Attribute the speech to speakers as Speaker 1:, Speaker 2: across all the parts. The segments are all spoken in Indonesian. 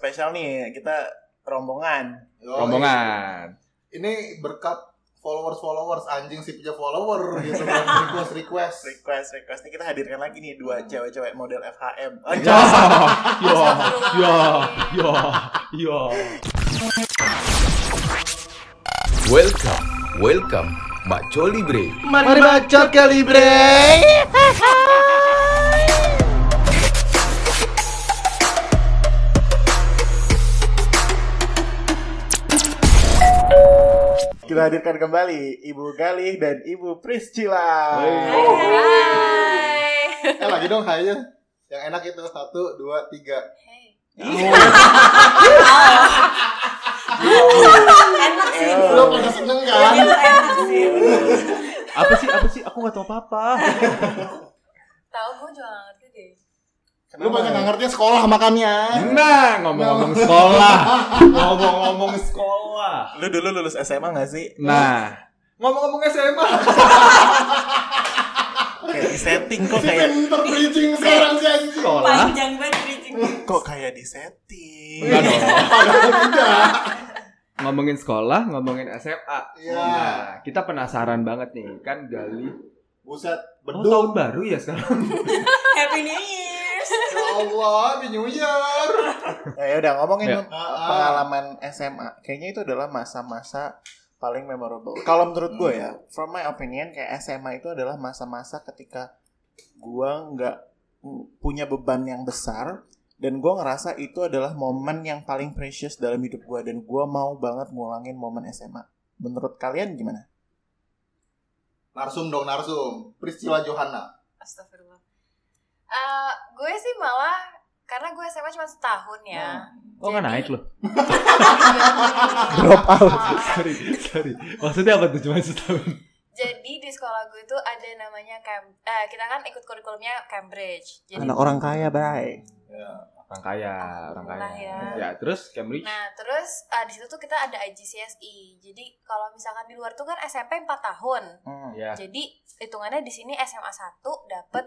Speaker 1: spesial nih. Kita rombongan.
Speaker 2: Yo,
Speaker 3: Oh, Rombongan.
Speaker 2: Ini berkat followers-followers anjing si punya follower gitu kan request request.
Speaker 1: Request request nih kita hadirkan lagi nih
Speaker 3: Hmm.
Speaker 1: dua cewek-cewek model FHM. Oh,
Speaker 3: Yo, yo, yo, yo, yo.
Speaker 4: Welcome, welcome, Macho Libre.
Speaker 3: Mari bacot kali bre.
Speaker 1: Kita hadirkan kembali Ibu Galih dan Ibu Priscila.
Speaker 3: Hei.
Speaker 5: Hai.
Speaker 2: Eh lagi dong kayaknya. Yang enak itu satu, dua, tiga.
Speaker 5: Enak sih. Iya,
Speaker 2: Lo Eh, pada seneng kan?
Speaker 5: Itu enak sih.
Speaker 3: iya. Apa sih, apa sih? Aku gak tau apa-apa.
Speaker 5: Tahu gue juga gak ngerti deh.
Speaker 2: Lu banyak nggak ngerti sekolah ya? makannya.
Speaker 3: Nah, ngomong-ngomong sekolah. Ngomong-ngomong sekolah.
Speaker 1: Lu dulu lulus SMA gak sih?
Speaker 3: Nah,
Speaker 2: Ngomong-ngomong SMA,
Speaker 1: Kayak di setting kok
Speaker 2: si
Speaker 1: kayak
Speaker 2: pinter bridging sekarang sih anjing.
Speaker 3: sekolah.
Speaker 5: Panjang banget bridging.
Speaker 1: kok kayak di setting.
Speaker 3: Enggak dong.
Speaker 2: Padahal
Speaker 3: Iya.
Speaker 2: tidak.
Speaker 3: Ngomongin sekolah, ngomongin SMA.
Speaker 2: Iya.
Speaker 3: Nah, kita penasaran banget nih. Kan Gali.
Speaker 2: Buset,
Speaker 3: Oh,
Speaker 2: beduk.
Speaker 3: tahun baru ya sekarang?
Speaker 5: Happy New Year.
Speaker 2: Ya Allah, di New Year.
Speaker 1: Nah, ya udah ngomongin
Speaker 3: Ya.
Speaker 1: dong
Speaker 2: Ah,
Speaker 1: pengalaman SMA. Kayaknya itu adalah masa-masa paling memorable. Kalau menurut gue
Speaker 2: Hmm.
Speaker 1: ya, from my opinion kayak SMA itu adalah masa-masa ketika gue nggak punya beban yang besar dan gue ngerasa itu adalah momen yang paling precious dalam hidup gue dan gue mau banget ngulangin momen SMA. Menurut kalian gimana?
Speaker 2: Narsum dong, narsum. Priscila Johanna.
Speaker 5: Astagfirullah. Eh, gue sih malah karena gue SMA cuma setahun ya.
Speaker 3: Oh, nggak naik loh.
Speaker 1: Drop out.
Speaker 3: sorry, sorry. Maksudnya apa tuh cuma setahun?
Speaker 5: Jadi di sekolah gue tuh ada namanya Cam eh, kita kan ikut kurikulumnya Cambridge. Jadi
Speaker 1: Iya. Anak orang kaya, Bray.
Speaker 3: Orang kaya, orang kaya.
Speaker 5: Alhamdulillah
Speaker 3: Ya.
Speaker 5: ya.
Speaker 3: terus Cambridge.
Speaker 5: Nah, terus eh, di situ tuh kita ada IGCSE. Jadi kalau misalkan di luar tuh kan SMP 4 tahun.
Speaker 1: Hmm.
Speaker 3: Ya.
Speaker 5: Jadi hitungannya di sini SMA 1 dapat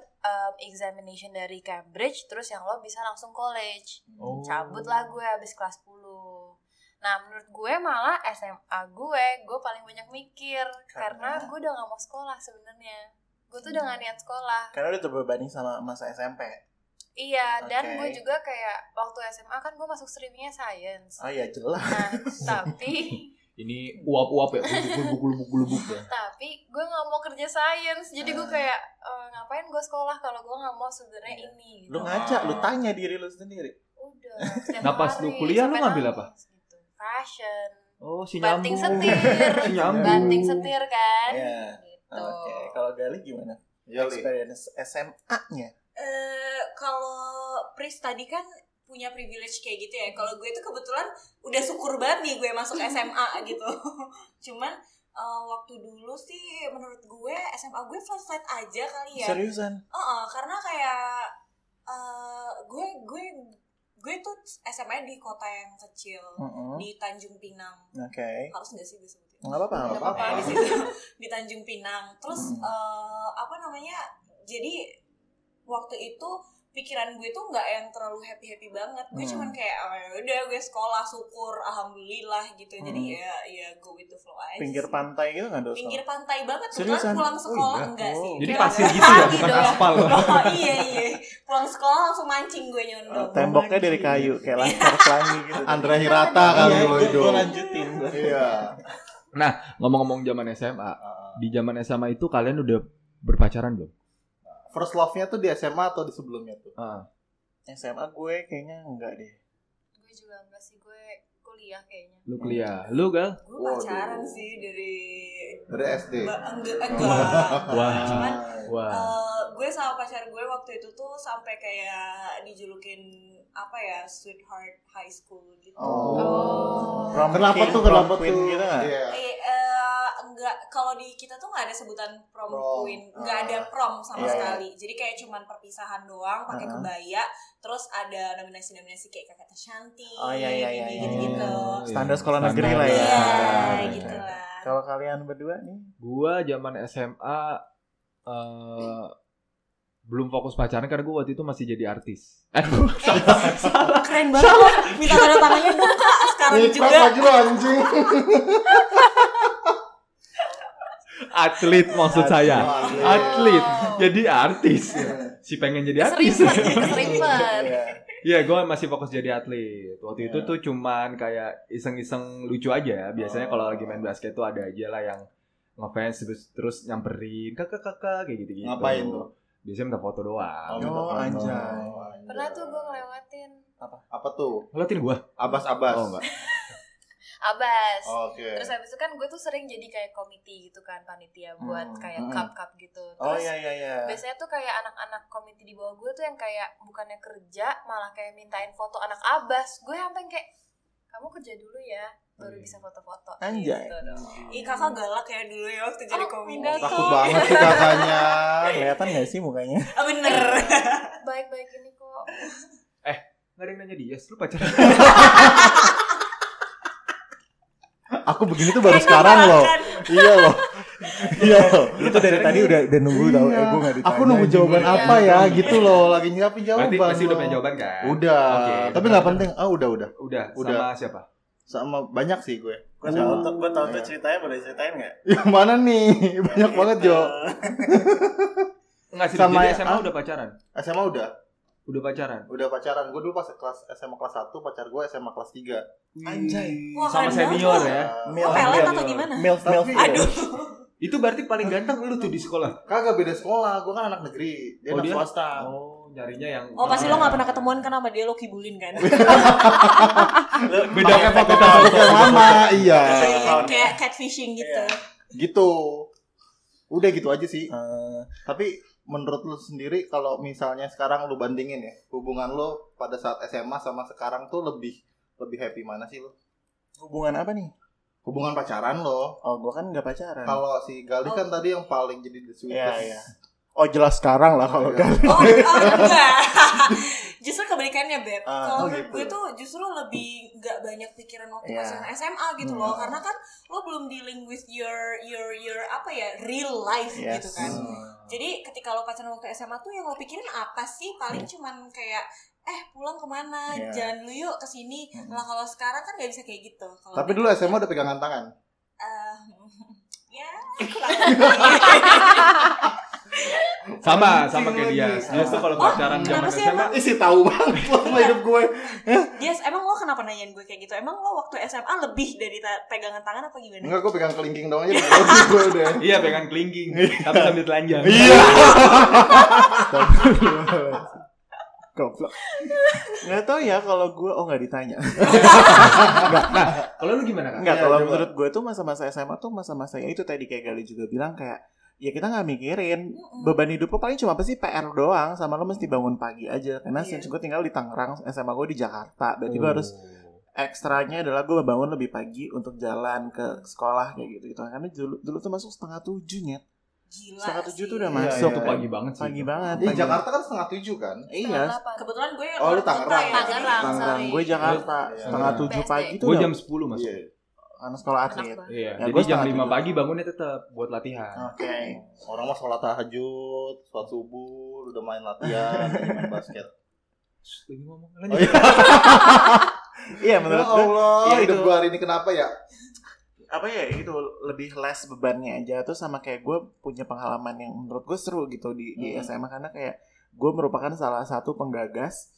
Speaker 5: examination dari Cambridge terus yang lo bisa langsung college.
Speaker 1: Oh.
Speaker 5: Cabut lah gue habis kelas 10. Nah, menurut gue malah SMA gue, gue paling banyak mikir
Speaker 1: Karena? Hmm.
Speaker 5: karena, gue udah gak mau sekolah sebenarnya. Gue tuh udah gak niat sekolah.
Speaker 1: Karena udah terbebani sama masa SMP.
Speaker 5: Iya, dan
Speaker 1: Oke.
Speaker 5: gue juga kayak waktu SMA kan gue masuk streamingnya science.
Speaker 1: Oh ya jelas.
Speaker 5: Nah, tapi
Speaker 3: Ini uap-uap ya, bubuk-bubuk-bubuk ya.
Speaker 5: tapi gue nggak mau kerja sains jadi
Speaker 1: Ah.
Speaker 5: gue kayak eh, ngapain gue sekolah kalau gue nggak mau sebenarnya ini
Speaker 1: Iya.
Speaker 5: gitu.
Speaker 1: Lu ngaca, lu tanya diri lu sendiri.
Speaker 5: udah setiap
Speaker 3: Nah, pas lu
Speaker 5: hari,
Speaker 3: kuliah, lu
Speaker 5: sampai
Speaker 3: ngambil
Speaker 5: nangis,
Speaker 3: apa?
Speaker 5: gitu. fashion
Speaker 3: Oh, si
Speaker 5: banting
Speaker 3: nyambung.
Speaker 5: setir
Speaker 3: Si nyambung.
Speaker 5: banting setir kan
Speaker 1: Iya.
Speaker 5: gitu
Speaker 1: Oke, kalau Gali gimana?
Speaker 2: Iya, Li.
Speaker 1: Experience SMA-nya.
Speaker 6: eh kalau Pris tadi kan punya privilege kayak gitu ya. Kalau gue tuh kebetulan udah syukur banget nih gue masuk SMA gitu. Cuman eh, waktu dulu sih menurut gue SMA gue flat-flat aja kali ya.
Speaker 1: Seriusan?
Speaker 6: Heeh, karena kayak eh gue gue gue tuh SMA di kota yang kecil
Speaker 1: Mm-mm.
Speaker 6: di Tanjung Pinang.
Speaker 1: Oke.
Speaker 6: Harus nggak sih gue sebutin?
Speaker 1: Enggak apa-apa,
Speaker 2: Nggak
Speaker 1: enggak apa-apa.
Speaker 6: Eh, di situ di Tanjung Pinang. Terus
Speaker 1: Hmm.
Speaker 6: eh, apa namanya? Jadi waktu itu pikiran gue tuh nggak yang terlalu happy happy banget. Gue
Speaker 1: Hmm.
Speaker 6: cuman kayak "Oh, ya udah gue sekolah syukur alhamdulillah gitu. Jadi
Speaker 1: Hmm.
Speaker 6: ya ya go with the flow aja.
Speaker 1: Pinggir
Speaker 6: sih.
Speaker 1: pantai gitu enggak dosa.
Speaker 6: Pinggir pantai banget
Speaker 1: Seriusan?
Speaker 6: Kebetulan pulang sekolah
Speaker 3: iya?
Speaker 6: enggak sih.
Speaker 1: Oh.
Speaker 3: Jadi
Speaker 6: Kayak
Speaker 3: pasir
Speaker 6: udah
Speaker 3: gitu ya,
Speaker 6: pagi
Speaker 3: bukan
Speaker 6: dong.
Speaker 3: aspal.
Speaker 6: Oh, iya iya. Pulang sekolah langsung mancing gue
Speaker 1: Eh,
Speaker 6: nyondong.
Speaker 1: temboknya dari kayu
Speaker 6: Iya.
Speaker 1: kayak laskar pelangi gitu.
Speaker 2: Andra Hirata kali
Speaker 1: Iya,
Speaker 2: lo
Speaker 1: gua-
Speaker 2: itu.
Speaker 1: gua lanjutin. gua.
Speaker 2: Iya.
Speaker 3: Ngomong-ngomong zaman SMA, di zaman SMA itu kalian udah berpacaran belum?
Speaker 2: First love-nya tuh di SMA atau di sebelumnya tuh?
Speaker 1: SMA gue kayaknya enggak deh.
Speaker 5: gue juga enggak sih gue kuliah kayaknya
Speaker 3: Lu kuliah,
Speaker 1: Iya.
Speaker 3: lu gal?
Speaker 6: Gue pacaran
Speaker 2: Waduh.
Speaker 6: sih dari
Speaker 2: Dari SD.
Speaker 6: Ba- enggak enggak.
Speaker 3: Wah,
Speaker 6: Cuman
Speaker 1: Ah.
Speaker 3: wah.
Speaker 6: Eh, gue sama pacar gue waktu itu tuh sampai kayak dijulukin apa ya sweetheart high school gitu.
Speaker 1: Oh. Prom
Speaker 2: Kenapa
Speaker 1: king,
Speaker 2: tuh?
Speaker 1: prom
Speaker 2: Kenapa tuh?
Speaker 1: queen gitu nggak?
Speaker 2: Iya.
Speaker 6: Eh, eh, enggak kalau di kita tuh nggak ada sebutan prom,
Speaker 2: Prom.
Speaker 6: queen, nggak ada
Speaker 2: Ah.
Speaker 6: prom
Speaker 1: Iya,
Speaker 6: sama
Speaker 1: iya.
Speaker 6: sekali. Jadi kayak cuman perpisahan doang, pakai
Speaker 1: Ah.
Speaker 6: kebaya, terus ada nominasi-nominasi kayak kakak Shanti,
Speaker 1: Oh, iya, iya, iya, iya,
Speaker 6: gitu.
Speaker 1: iya.
Speaker 3: Oh,
Speaker 1: Standar
Speaker 3: iya.
Speaker 1: sekolah negeri lah ya.
Speaker 6: Iya,
Speaker 3: Standar, iya.
Speaker 6: gitu lah.
Speaker 1: Kalau kalian berdua nih,
Speaker 3: Gua zaman SMA eh belum fokus pacaran karena gue waktu itu masih jadi artis. Eh,
Speaker 6: Keren banget. Minta tanda tangannya dong Kak, sekarang
Speaker 1: Iya,
Speaker 2: Nikmat
Speaker 6: juga.
Speaker 2: lagi lo anjing.
Speaker 3: atlet maksud saya.
Speaker 2: Atlet.
Speaker 3: Atlet, jadi artis. Si pengen jadi artis.
Speaker 5: Keserimpet, keserimpet.
Speaker 1: Iya.
Speaker 3: Iya, gue masih fokus jadi atlet.
Speaker 2: Iya.
Speaker 3: Waktu itu tuh cuman kayak iseng-iseng lucu aja.
Speaker 2: Oh.
Speaker 3: Biasanya kalau lagi main basket tuh ada aja lah yang ngefans terus, terus nyamperin kakak kakak kayak gitu gitu.
Speaker 2: Ngapain tuh?
Speaker 3: Biasanya minta foto doang.
Speaker 1: minta
Speaker 2: Oh,
Speaker 1: foto.
Speaker 2: anjay.
Speaker 5: Pernah tuh gue ngelewatin
Speaker 2: Apa tuh?
Speaker 3: Lo tin gue?
Speaker 2: Abas-abas.
Speaker 3: Oh, enggak.
Speaker 5: Abas.
Speaker 1: Oh, iya.
Speaker 2: Oke.
Speaker 5: Terus habis itu kan gue tuh sering jadi kayak komiti gitu kan panitia buat
Speaker 1: Hmm,
Speaker 5: kayak
Speaker 1: hmm.
Speaker 5: cup-cup gitu.
Speaker 1: Oh
Speaker 5: Terus
Speaker 1: iya iya iya.
Speaker 5: biasanya tuh kayak anak-anak komiti di bawah gue tuh yang kayak bukannya kerja malah kayak mintain foto anak abas. Gue sampai kayak kamu kerja dulu ya baru bisa foto-foto.
Speaker 1: Iya. Anjay.
Speaker 5: Gitu dong.
Speaker 6: Ih kakak galak ya dulu ya waktu jadi
Speaker 5: Oh,
Speaker 6: komedi.
Speaker 5: enggak.
Speaker 2: Takut banget sih kakaknya.
Speaker 1: Ah, Kelihatan gak sih mukanya?
Speaker 6: Ah, bener.
Speaker 5: Baik-baik ini kok.
Speaker 3: Nggak ada yang nanya dia, lu pacaran?
Speaker 1: Aku begini tuh baru sekarang loh.
Speaker 6: kan?
Speaker 1: Iya loh. Iya loh. Itu dari tadi udah udah nunggu tau eh gue gak ditanya.
Speaker 2: Aku nunggu jawaban
Speaker 1: Iya.
Speaker 2: apa ya gitu loh, lagi nyiapin jawaban.
Speaker 3: Berarti masih udah
Speaker 2: loh.
Speaker 3: punya jawaban kan?
Speaker 2: Udah,
Speaker 3: Oke.
Speaker 2: tapi nggak penting. Ah udah udah,
Speaker 3: Udah,
Speaker 2: Udah.
Speaker 3: sama siapa?
Speaker 2: sama banyak sih gue.
Speaker 1: Gue tau tuh, gue tau tuh
Speaker 2: Iya.
Speaker 1: ceritanya boleh ceritain Gitu. gak?
Speaker 2: Yang mana nih? Banyak
Speaker 3: Iya.
Speaker 2: banget Jo.
Speaker 3: Enggak sih,
Speaker 2: Sama-
Speaker 3: jadi SMA
Speaker 2: ah?
Speaker 3: udah pacaran.
Speaker 2: SMA udah,
Speaker 3: Udah pacaran.
Speaker 2: udah pacaran. Gue dulu pas kelas SMA kelas 1, pacar gue SMA kelas Eh, 3.
Speaker 1: Anjay.
Speaker 6: Wah,
Speaker 3: sama
Speaker 6: keren
Speaker 3: senior
Speaker 6: banget.
Speaker 3: ya.
Speaker 6: Oh, pelet atau gimana?
Speaker 1: Milf, milf.
Speaker 2: Tapi-
Speaker 1: Aduh.
Speaker 3: Itu berarti paling ganteng lu tuh di sekolah.
Speaker 2: Kagak beda sekolah, gue kan anak negeri, dia
Speaker 3: Oh,
Speaker 2: anak
Speaker 3: dia?
Speaker 2: swasta.
Speaker 3: Oh, nyarinya yang
Speaker 6: Oh pasti lo gak pernah ketemuan kan sama dia lo kibulin kan?
Speaker 3: Beda kan fakultas
Speaker 2: Tapi yang lama, iya.
Speaker 6: Kayak catfishing gitu.
Speaker 2: Gitu. Udah gitu aja sih.
Speaker 1: Eh,
Speaker 2: Tapi menurut lu sendiri kalau misalnya sekarang lu bandingin ya, hubungan lu pada saat SMA sama sekarang tuh lebih lebih happy mana sih lu?
Speaker 1: Hubungan apa nih?
Speaker 2: Hubungan pacaran lo.
Speaker 1: Oh gue kan gak pacaran.
Speaker 2: Kalau si Galih kan tadi yang paling jadi the sweetest.
Speaker 1: Iya, iya. Oh jelas sekarang lah kalau
Speaker 2: Iya.
Speaker 1: kan.
Speaker 6: Oh, oh enggak. justru kebalikannya Beb.
Speaker 1: Ah,
Speaker 2: oh
Speaker 6: Kalau menurut
Speaker 2: gitu.
Speaker 6: gue tuh justru lebih nggak banyak pikiran waktu
Speaker 1: Iya.
Speaker 6: pas yang SMA gitu loh,
Speaker 1: Hmm.
Speaker 6: karena kan lo belum dealing with your your your apa ya real life
Speaker 1: Yes.
Speaker 6: gitu kan. Jadi ketika lo pacaran waktu SMA tuh yang lo pikirin apa sih?
Speaker 2: Iya.
Speaker 6: Paling cuman kayak eh pulang kemana?
Speaker 1: Iya.
Speaker 6: Jalan dulu yuk ke sini.
Speaker 1: Hmm.
Speaker 6: Lah kalau sekarang kan nggak bisa kayak gitu. Kalau
Speaker 2: Tapi dulu SMA udah pegangan tangan.
Speaker 6: eh, ya kurang.
Speaker 3: sama sama kayak
Speaker 2: Anjing
Speaker 3: dia.
Speaker 2: lagi.
Speaker 3: Dia tuh kalau
Speaker 6: Oh,
Speaker 3: pacaran zaman
Speaker 6: kenapa sih
Speaker 3: SMA
Speaker 6: emang?
Speaker 2: Ih, sih tahu banget lo sama hidup gue.
Speaker 6: Yes, emang lo kenapa nanyain gue kayak gitu? Emang lo waktu SMA lebih dari ta- pegangan tangan apa gimana?
Speaker 2: Enggak, gue pegang kelingking doang aja. udah gue udah.
Speaker 3: Iya pegang kelingking tapi sambil telanjang.
Speaker 1: Iya. Goblok. Gak tau ya kalau gue oh nggak ditanya.
Speaker 3: Kalau lu gimana kan?
Speaker 1: Enggak,
Speaker 2: Iya,
Speaker 1: kalau
Speaker 2: coba.
Speaker 1: menurut gue tuh masa-masa SMA tuh masa-masa ya itu tadi kayak Gali juga bilang kayak ya kita nggak mikirin
Speaker 6: Mm-mm.
Speaker 1: beban hidup lo paling cuma apa sih PR doang sama lo mesti bangun pagi aja karena
Speaker 6: Iya.
Speaker 1: since gue tinggal di Tangerang SMA gue di Jakarta berarti
Speaker 2: Hmm.
Speaker 1: gue
Speaker 3: Iya,
Speaker 1: harus ekstranya adalah gue bangun lebih pagi untuk jalan ke sekolah kayak gitu gitu karena dulu dulu tuh masuk setengah tujuh nyet
Speaker 6: Gila
Speaker 1: setengah tujuh
Speaker 6: sih.
Speaker 1: tuh udah
Speaker 2: Iya,
Speaker 1: masuk
Speaker 2: iya.
Speaker 3: Itu pagi banget sih.
Speaker 1: pagi banget
Speaker 2: Di
Speaker 1: pagi.
Speaker 2: Jakarta kan setengah tujuh kan?
Speaker 1: iya
Speaker 6: Kebetulan gue
Speaker 2: Oh, lu
Speaker 6: luar kota
Speaker 2: Tangerang.
Speaker 6: ya, jadi-
Speaker 5: Tangerang,
Speaker 1: Tangerang
Speaker 5: sorry.
Speaker 1: gue Jakarta
Speaker 2: Iya.
Speaker 1: setengah
Speaker 3: Iya.
Speaker 1: tujuh
Speaker 5: BSD.
Speaker 1: pagi tuh
Speaker 3: Gue
Speaker 1: udah
Speaker 3: jam 10 masuk.
Speaker 2: Iya.
Speaker 1: anak sekolah
Speaker 5: Enak
Speaker 1: atlet
Speaker 5: banget.
Speaker 3: Iya.
Speaker 1: Ya,
Speaker 3: Jadi
Speaker 1: gua
Speaker 3: jam
Speaker 1: setengah
Speaker 3: 5
Speaker 1: tidur.
Speaker 3: pagi bangunnya tetap buat latihan.
Speaker 1: oke
Speaker 2: Orang mah sholat tahajud, sholat subuh, udah main latihan, main basket.
Speaker 3: Shh, Lagi ngomong
Speaker 2: Oh,
Speaker 3: lanjut.
Speaker 2: iya.
Speaker 1: iya menurut gue
Speaker 2: Allah,
Speaker 1: Iya,
Speaker 2: hidup
Speaker 1: itu.
Speaker 2: gue hari ini kenapa ya?
Speaker 1: apa ya itu lebih less bebannya aja tuh sama kayak gue punya pengalaman yang menurut gue seru gitu di, di
Speaker 2: Hmm.
Speaker 1: SMA karena kayak gue merupakan salah satu penggagas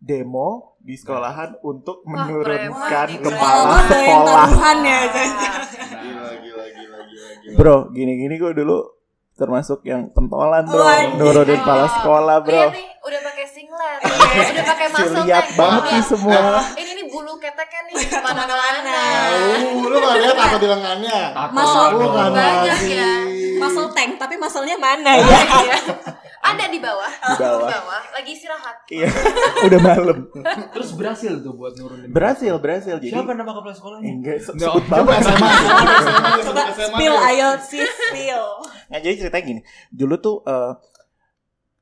Speaker 1: demo di sekolahan untuk
Speaker 5: Wah,
Speaker 1: menurunkan
Speaker 5: preman.
Speaker 1: kepala
Speaker 5: Wah,
Speaker 6: Kalau gue ada yang
Speaker 1: sekolah
Speaker 6: taruhan ya, jangan-jangan.
Speaker 2: Gila, gila, gila, gila, gila.
Speaker 1: bro gini-gini gue dulu termasuk yang pentolan bro
Speaker 6: Waduh.
Speaker 1: nurunin kepala sekolah bro
Speaker 5: Iya nih, udah pakai singlet, udah pakai
Speaker 1: Iya. Si
Speaker 5: muscle
Speaker 1: lihat
Speaker 5: tank.
Speaker 1: banget nih
Speaker 5: Iya.
Speaker 1: semua
Speaker 5: Ini nih bulu keteknya nih kemana-mana.
Speaker 2: Tahu, lu gak lihat aku di lengannya?
Speaker 3: Tato
Speaker 6: Masuk.
Speaker 2: Lu
Speaker 3: dong.
Speaker 2: kan
Speaker 5: Banyak
Speaker 2: lagi.
Speaker 5: ya.
Speaker 6: Muscle tank, tapi muscle-nya mana ya?
Speaker 5: Iya. Ada di bawah.
Speaker 1: di bawah
Speaker 5: Lagi istirahat.
Speaker 1: iya udah malam
Speaker 3: Terus berhasil tuh buat nurunin.
Speaker 1: berhasil berhasil jadi
Speaker 3: Siapa nama kepala sekolahnya?
Speaker 1: enggak se-
Speaker 3: Nggak,
Speaker 1: sebut
Speaker 2: oh, Coba
Speaker 1: banget
Speaker 2: SMA.
Speaker 6: Coba spill,
Speaker 5: ya?
Speaker 6: ayo sih spill.
Speaker 1: Nah, jadi ceritanya gini, dulu tuh eh,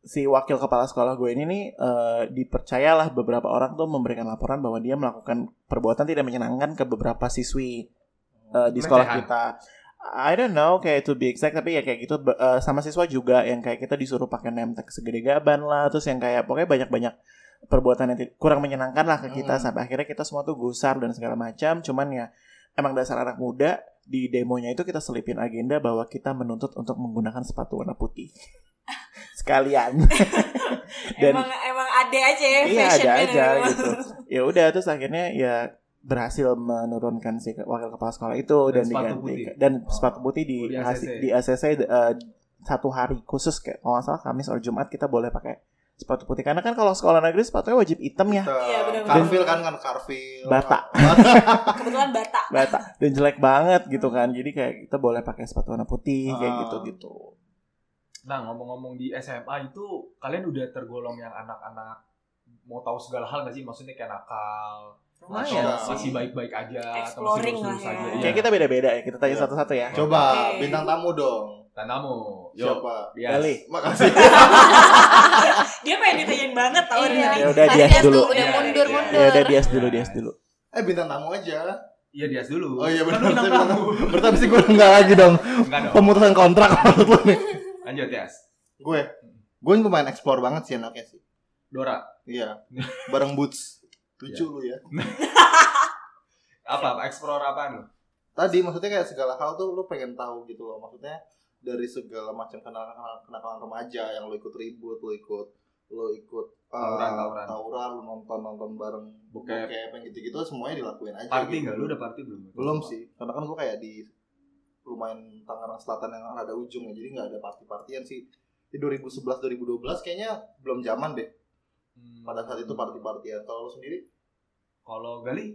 Speaker 1: si wakil kepala sekolah gue ini nih eh, dipercayalah beberapa orang tuh memberikan laporan bahwa dia melakukan perbuatan tidak menyenangkan ke beberapa siswi eh, di sekolah
Speaker 3: Pelecehan.
Speaker 1: kita. I don't know kayak to be exact tapi ya kayak gitu be- eh, sama siswa juga yang kayak kita disuruh pakai name tag segede gaban lah terus yang kayak pokoknya banyak-banyak perbuatan yang ti- kurang menyenangkan lah ke kita
Speaker 2: Hmm.
Speaker 1: sampai akhirnya kita semua tuh gusar dan segala macam cuman ya emang dasar anak muda di demonya itu kita selipin agenda bahwa kita menuntut untuk menggunakan sepatu warna putih sekalian Dan-
Speaker 6: emang emang ada aja
Speaker 1: Iya,
Speaker 6: ya
Speaker 1: ada
Speaker 6: fashionnya
Speaker 1: aja
Speaker 6: memang.
Speaker 1: gitu. ya udah terus akhirnya ya berhasil menurunkan si ke- wakil kepala sekolah itu dan,
Speaker 3: Dan sepatu
Speaker 1: diganti
Speaker 3: putih.
Speaker 1: dan sepatu putih di
Speaker 3: Oh, di
Speaker 1: ACC.
Speaker 3: ACC.
Speaker 1: di ACC eh, satu hari khusus kayak kalau nggak salah Kamis atau Jumat kita boleh pakai sepatu putih karena kan kalau sekolah negeri sepatunya wajib hitam ya
Speaker 6: Iya, benar-benar.
Speaker 2: Karfil kan kan Karfil.
Speaker 1: Bata.
Speaker 2: Bata.
Speaker 6: kebetulan bata
Speaker 1: Bata. dan jelek banget gitu kan jadi kayak kita boleh pakai sepatu warna putih kayak
Speaker 2: Ah.
Speaker 1: gitu gitu
Speaker 3: Nah, ngomong-ngomong di SMA itu kalian udah tergolong yang anak-anak mau tahu segala hal nggak sih? Maksudnya kayak nakal, atau
Speaker 1: Lumayan
Speaker 2: sih.
Speaker 3: masih baik-baik aja, atau masih
Speaker 6: Exploring
Speaker 3: lurus-lurus
Speaker 6: lah ya.
Speaker 3: aja.
Speaker 6: Iya.
Speaker 2: gitu.
Speaker 1: kayak kita beda beda ya kita tanya satu satu ya
Speaker 2: Coba
Speaker 6: Oke.
Speaker 2: bintang tamu dong.
Speaker 3: Tanamu, yuk.
Speaker 2: Siapa?
Speaker 3: Dias.
Speaker 1: Dali.
Speaker 2: Makasih.
Speaker 6: dia pengen ditanyain banget tau
Speaker 5: Iya.
Speaker 6: dari
Speaker 1: ya udah
Speaker 5: Mas
Speaker 1: dia
Speaker 5: Dias
Speaker 1: dulu
Speaker 5: tuh udah
Speaker 3: Iya,
Speaker 5: mundur
Speaker 3: iya.
Speaker 5: mundur
Speaker 1: ya udah dia dulu dia dulu
Speaker 2: Eh bintang tamu aja.
Speaker 3: Iya, Dias dulu.
Speaker 2: Oh iya
Speaker 3: Kan
Speaker 2: benar.
Speaker 3: lu bintang
Speaker 2: saya bintang
Speaker 3: tamu.
Speaker 2: tamu. Berarti abis ini gue enggak lagi dong.
Speaker 3: Enggak dong.
Speaker 2: Pemutusan kontrak menurut lu nih.
Speaker 3: Lanjut, Dias.
Speaker 2: Gue. Gue lumayan explore banget sih anaknya sih.
Speaker 3: Dora,
Speaker 2: Iya. Bareng Boots.
Speaker 3: Iya.
Speaker 2: Lucu lu ya.
Speaker 3: apa? Explore apaan lu?
Speaker 2: Tadi maksudnya kayak segala hal tuh lu pengen tahu gitu loh. Maksudnya dari segala macam kenakalan kenakalan remaja yang lu ikut ribut, lu ikut lu ikut eh,
Speaker 3: Tawuran, tawuran.
Speaker 2: tawuran, lu nonton nonton bareng
Speaker 3: Bokep.
Speaker 2: yang gitu-gitu semuanya dilakuin aja.
Speaker 3: Party
Speaker 2: gitu.
Speaker 3: nggak? Lu udah party belum?
Speaker 2: Belum sih, karena kan gue kayak di lumayan Tangerang Selatan yang ada ujung ya, jadi nggak ada party-partian sih. Di 2011-2012 kayaknya belum zaman deh
Speaker 3: Hmm.
Speaker 2: pada saat itu party-partian. Kalau lu sendiri?
Speaker 3: Kalau Gali?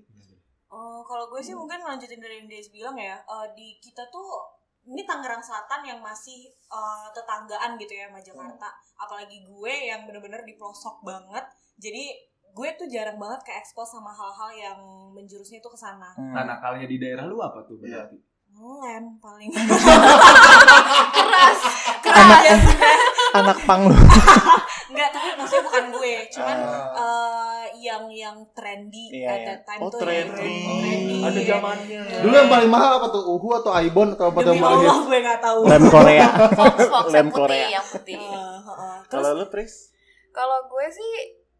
Speaker 6: Oh, kalau gue sih mungkin lanjutin dari yang Des bilang ya, eh, di kita tuh ini Tangerang Selatan yang masih eh, tetanggaan gitu ya sama Jakarta. Apalagi gue yang bener-bener di pelosok banget. Jadi gue tuh jarang banget ke expose sama hal-hal yang menjurusnya tuh ke sana.
Speaker 3: Nah, nakalnya di daerah lu apa tuh berarti?
Speaker 6: Ngelem paling.
Speaker 5: keras
Speaker 6: Keras ya.
Speaker 1: anak pang lu
Speaker 6: Enggak, tapi maksudnya bukan gue, cuman
Speaker 2: Ah.
Speaker 6: eh, yang yang trendy
Speaker 1: Iya,
Speaker 6: at
Speaker 1: iya.
Speaker 6: that time
Speaker 1: Oh,
Speaker 6: tuh yang
Speaker 1: trendy.
Speaker 2: Iya.
Speaker 3: Ada zamannya.
Speaker 2: Dulu yang paling mahal apa tuh? Uhu atau Aibon atau apa tuh
Speaker 6: Demi
Speaker 2: yang paling
Speaker 6: Allah
Speaker 2: hits?
Speaker 6: gue nggak tahu.
Speaker 1: lem Korea
Speaker 5: fox fox
Speaker 1: Lem
Speaker 5: yang
Speaker 1: Korea.
Speaker 5: putih yang putih
Speaker 6: Eh, heeh. Terus
Speaker 1: kalau lu Pris
Speaker 5: kalau gue sih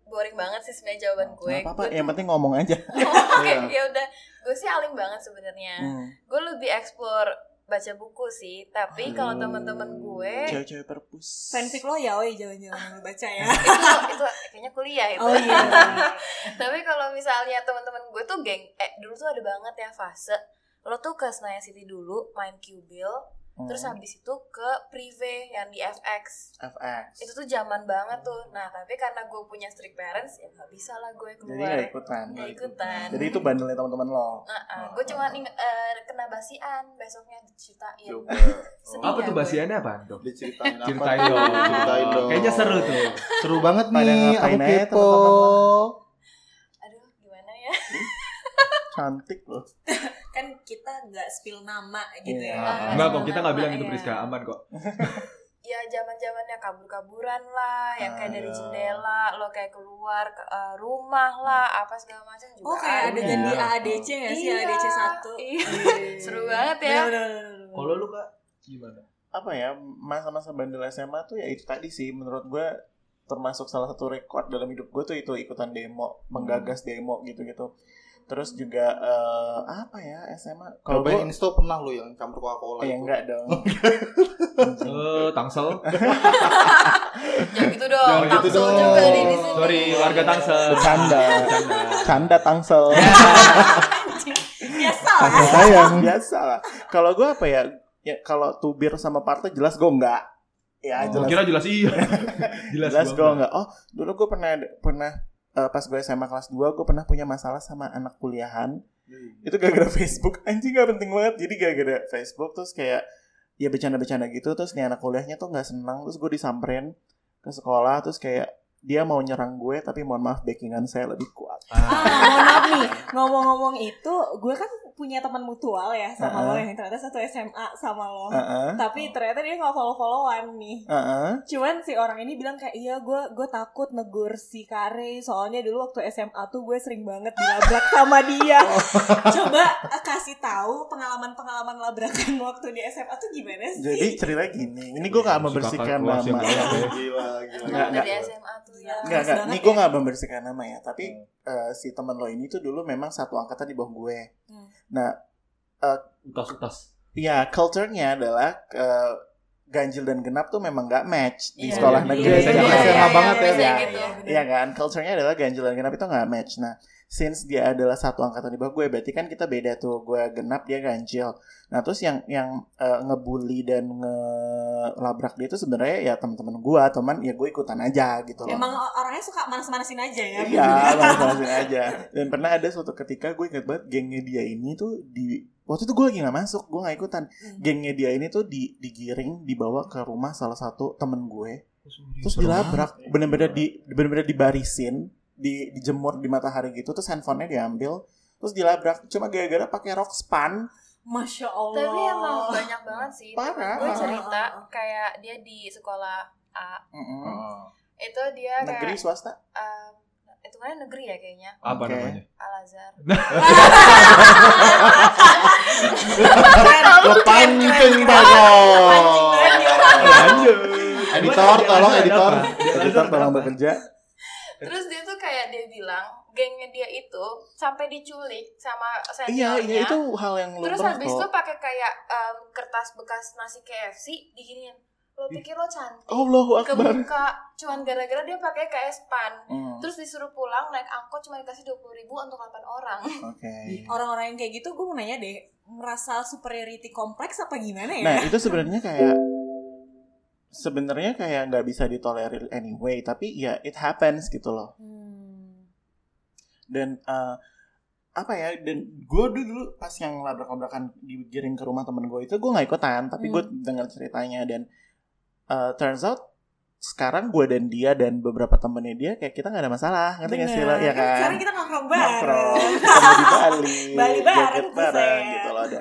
Speaker 5: boring banget sih sebenarnya jawaban gue
Speaker 1: nggak apa apa
Speaker 5: Gue
Speaker 1: yang penting ngomong aja
Speaker 5: tuh- oke
Speaker 2: Iya.
Speaker 5: ya udah gue sih alim banget sebenarnya
Speaker 1: Hmm.
Speaker 5: gue lebih explore baca buku sih tapi kalau teman-teman gue
Speaker 1: cewek-cewek perpus
Speaker 6: fanfic lo ya, oi jangan-jangan lo baca ya.
Speaker 5: itu itu kayaknya kuliah itu
Speaker 6: Oh iya.
Speaker 5: tapi kalau misalnya teman-teman gue tuh geng eh dulu tuh ada banget ya fase lo tuh ke Senayan City dulu main Q-Bill
Speaker 1: Hmm.
Speaker 5: terus habis itu ke Prive yang di FX
Speaker 1: FX
Speaker 5: itu tuh zaman banget tuh nah tapi karena gue punya strict parents ya nggak bisa lah gue
Speaker 1: jadi gak
Speaker 5: keluar
Speaker 1: ikutan
Speaker 5: nggak ikutan
Speaker 1: jadi
Speaker 6: Iya.
Speaker 1: itu bandelnya teman-teman lo
Speaker 5: gue cuma inge- eh, kena basian besoknya diceritain
Speaker 2: Coba.
Speaker 5: Sedih
Speaker 3: Apa
Speaker 5: ya
Speaker 3: tuh
Speaker 5: gue.
Speaker 3: bahasiannya apaan tuh?
Speaker 2: Diceritain apa?
Speaker 3: Ceritain
Speaker 2: tuh?
Speaker 3: dong.
Speaker 2: Ceritain dong.
Speaker 3: Kayaknya seru tuh.
Speaker 2: Seru banget
Speaker 1: Pada
Speaker 2: nih, aku
Speaker 1: ngapain aja
Speaker 2: kepo.
Speaker 1: teman-teman?
Speaker 5: aduh gimana ya
Speaker 1: cantik loh
Speaker 6: kan kita nggak spill nama gitu
Speaker 1: Iya.
Speaker 6: ya.
Speaker 3: Enggak kok, kita nggak bilang gitu
Speaker 5: Iya.
Speaker 3: Priska, aman kok.
Speaker 5: ya zaman zamannya kabur kaburan lah yang kayak dari jendela lo kayak keluar ke eh, rumah lah apa segala macam juga
Speaker 6: Oh kayak ada
Speaker 5: ada.
Speaker 6: ganti
Speaker 3: Iya.
Speaker 6: AADC nggak sih
Speaker 5: Iya.
Speaker 6: AADC satu?
Speaker 5: Iya. Seru banget ya.
Speaker 3: Kalau lu Kak, gimana?
Speaker 1: apa ya masa-masa bandel SMA tuh ya itu tadi sih menurut gue termasuk salah satu rekor dalam hidup gue tuh itu ikutan demo menggagas demo gitu-gitu terus juga eh, apa ya SMA
Speaker 2: Kalau
Speaker 1: kalau
Speaker 2: Cobain
Speaker 1: gue
Speaker 2: Insta pernah lu yang campur Coca-Cola
Speaker 1: ya
Speaker 2: itu.
Speaker 1: enggak dong
Speaker 3: Eh, Tangsel.
Speaker 5: jangan gitu dong
Speaker 3: Jangan gitu
Speaker 5: tangsel
Speaker 2: dong.
Speaker 5: juga nih di sini
Speaker 3: Sorry, warga Tangsel.
Speaker 1: Bercanda. canda tangsel
Speaker 6: Biasa lah.
Speaker 1: Tangsel sayang biasa lah kalau gue apa ya ya kalau tubir sama partai jelas gue enggak ya
Speaker 3: Oh,
Speaker 1: jelas
Speaker 3: Kira jelas iya. jelas,
Speaker 1: jelas gue
Speaker 3: banget.
Speaker 1: enggak oh dulu gue pernah pernah eh, pas gue SMA kelas 2 gue pernah punya masalah sama anak kuliahan itu gara-gara Facebook anjing gak penting banget jadi gara-gara Facebook terus kayak ya bercanda-bercanda gitu terus nih anak kuliahnya tuh nggak senang terus gue disamperin ke sekolah terus kayak dia mau nyerang gue tapi mohon maaf backingan saya lebih kuat
Speaker 6: Ah, mohon maaf nih, ngomong-ngomong itu, gue kan punya teman mutual ya sama
Speaker 1: Uh-uh.
Speaker 6: lo yang ternyata satu SMA sama lo.
Speaker 1: Heeh.
Speaker 6: Tapi ternyata dia nggak follow-followan nih.
Speaker 1: Heeh.
Speaker 6: Cuman si orang ini bilang kayak iya gue gue takut negur si Kare soalnya dulu waktu SMA tuh gue sering banget dilabrak sama dia.
Speaker 1: Oh.
Speaker 6: Coba eh, kasih tahu pengalaman-pengalaman labrakan waktu di SMA tuh gimana sih?
Speaker 1: Jadi ceritanya gini, ini gue gak
Speaker 3: Suka
Speaker 1: membersihkan
Speaker 3: kalkulasi yang
Speaker 1: nama.
Speaker 3: banyak ya.
Speaker 2: Gila, gila.
Speaker 1: Nggak,
Speaker 5: Kenapa
Speaker 1: nggak.
Speaker 5: Iya, dari SMA tuh ya?
Speaker 6: Nggak.
Speaker 1: Enggak, enggak.
Speaker 6: banget
Speaker 1: Ini gue gak membersihkan nama ya. Tapi eh, si teman lo ini tuh dulu memang satu angkatan di bawah gue.
Speaker 6: Hmm.
Speaker 1: Nah,
Speaker 3: Utas-utas.
Speaker 1: ya culture-nya adalah eh, ganjil dan genap tuh memang gak match di
Speaker 6: Iya,
Speaker 1: sekolah
Speaker 6: iya,
Speaker 1: negeri.
Speaker 2: iya,
Speaker 1: itu
Speaker 2: iya,
Speaker 1: nggak
Speaker 2: iya,
Speaker 1: SMA
Speaker 2: iya,
Speaker 1: banget ya.
Speaker 2: iya,
Speaker 1: Iya,
Speaker 5: iya, gitu.
Speaker 1: Iya kan? Culture-nya adalah ganjil dan genap itu gak match. Nah, since dia adalah satu angkatan di bawah gue, berarti kan kita beda tuh. Gue genap, dia ganjil. Nah, terus yang yang eh, ngebully dan ngelabrak dia itu sebenarnya ya teman-teman gue, teman ya gue ikutan aja gitu loh.
Speaker 6: Emang orangnya suka manas-manasin aja ya?
Speaker 1: Iya, langsung aja. Dan pernah ada suatu ketika gue inget banget gengnya dia ini tuh di waktu itu gue lagi nggak masuk, gue nggak ikutan. Gengnya dia ini tuh di digiring dibawa ke rumah salah satu temen gue, terus dilabrak, bener-bener di bener-bener dibarisin, di, dijemur di matahari gitu, terus handphonenya diambil, terus dilabrak. Cuma gara-gara pakai rok span,
Speaker 6: Masya Allah.
Speaker 5: Tapi emang banyak banget sih. Temen
Speaker 1: Oh. Parah.
Speaker 5: Gue cerita kayak dia di sekolah A
Speaker 1: Mm-mm.
Speaker 2: Oh.
Speaker 5: itu dia
Speaker 1: negeri
Speaker 5: kayak
Speaker 1: swasta.
Speaker 5: em, itu kan negeri ya kayaknya
Speaker 3: Apa
Speaker 1: Oke.
Speaker 3: namanya?
Speaker 5: Al Azhar.
Speaker 1: Kepancing banget.
Speaker 2: Editor, tolong editor.
Speaker 1: Editor tolong bekerja.
Speaker 5: Terus dia tuh kayak dia bilang gengnya dia itu sampai diculik sama
Speaker 1: Iya,
Speaker 5: seniornya.
Speaker 1: iya itu hal yang lumrah
Speaker 5: Terus habis
Speaker 1: kok.
Speaker 5: itu pakai kayak em, kertas bekas nasi KFC diginiin. Lo pikir lo cantik?
Speaker 1: Allahu Akbar.
Speaker 5: Kebuka cuman gara-gara dia pakai kayak span.
Speaker 1: Hmm,
Speaker 5: Terus disuruh pulang naik angkot cuma dikasih 20.000 ribu untuk 8 orang.
Speaker 1: Oke.
Speaker 6: Orang-orang yang kayak gitu gue mau nanya deh, merasa superiority kompleks apa gimana ya?
Speaker 1: Nah itu sebenarnya kayak sebenarnya kayak nggak bisa ditolerir anyway, tapi ya it happens gitu loh.
Speaker 6: Hmm.
Speaker 1: Dan eh, apa ya? Dan gue dulu pas yang labrak-labrakan digiring ke rumah temen gue itu gue nggak ikutan, tapi gue
Speaker 6: Hmm.
Speaker 1: dengar ceritanya dan eh, turns out sekarang gue dan dia dan beberapa temennya dia kayak kita nggak ada masalah, ngerti nggak sih lo?
Speaker 6: Bener.
Speaker 1: Ya
Speaker 6: Kan
Speaker 1: kan?
Speaker 6: Sekarang kita nongkrong
Speaker 1: nongkrong
Speaker 6: bareng.
Speaker 1: ketemu di Bali
Speaker 6: Bali bareng,
Speaker 1: joget
Speaker 6: buset.
Speaker 1: bareng gitu loh ada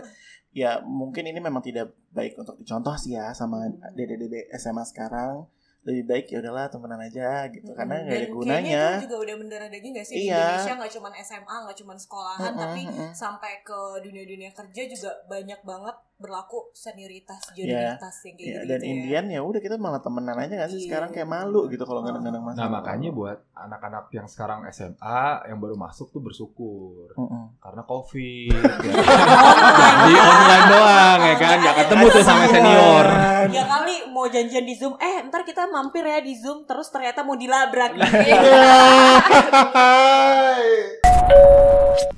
Speaker 1: ya mungkin ini memang tidak baik untuk dicontoh sih ya sama
Speaker 6: Hmm.
Speaker 1: dede-dede SMA sekarang lebih baik ya udahlah temenan aja gitu karena
Speaker 6: Mm,
Speaker 1: nggak ada
Speaker 6: dan
Speaker 1: gunanya
Speaker 6: Kayaknya itu juga udah mendarah daging gak sih di
Speaker 1: Iya.
Speaker 6: Indonesia nggak cuma SMA, nggak cuma sekolahan,
Speaker 1: Mm-mm,
Speaker 6: kan, tapi
Speaker 1: mm-mm.
Speaker 6: sampai ke dunia-dunia kerja juga banyak banget berlaku senioritas, junioritas
Speaker 1: Ya,
Speaker 6: yang kayak gitu.
Speaker 1: Iya. dan Indian ya udah kita malah temenan aja nggak sih
Speaker 6: Iya.
Speaker 1: sekarang kayak malu gitu kalau ngadeng-ngadeng masalah
Speaker 3: Nah makanya buat anak-anak yang sekarang SMA yang baru masuk tuh bersyukur
Speaker 1: Mm-mm.
Speaker 3: karena covid ya. jadi online doang ya kan nggak ketemu tuh sama senior
Speaker 1: Iya.
Speaker 6: Ya kali mau janjian di Zoom, eh ntar kita mampir ya di Zoom, terus gitu.
Speaker 1: Iya.
Speaker 6: ternyata mau dilabrak.
Speaker 5: Iya.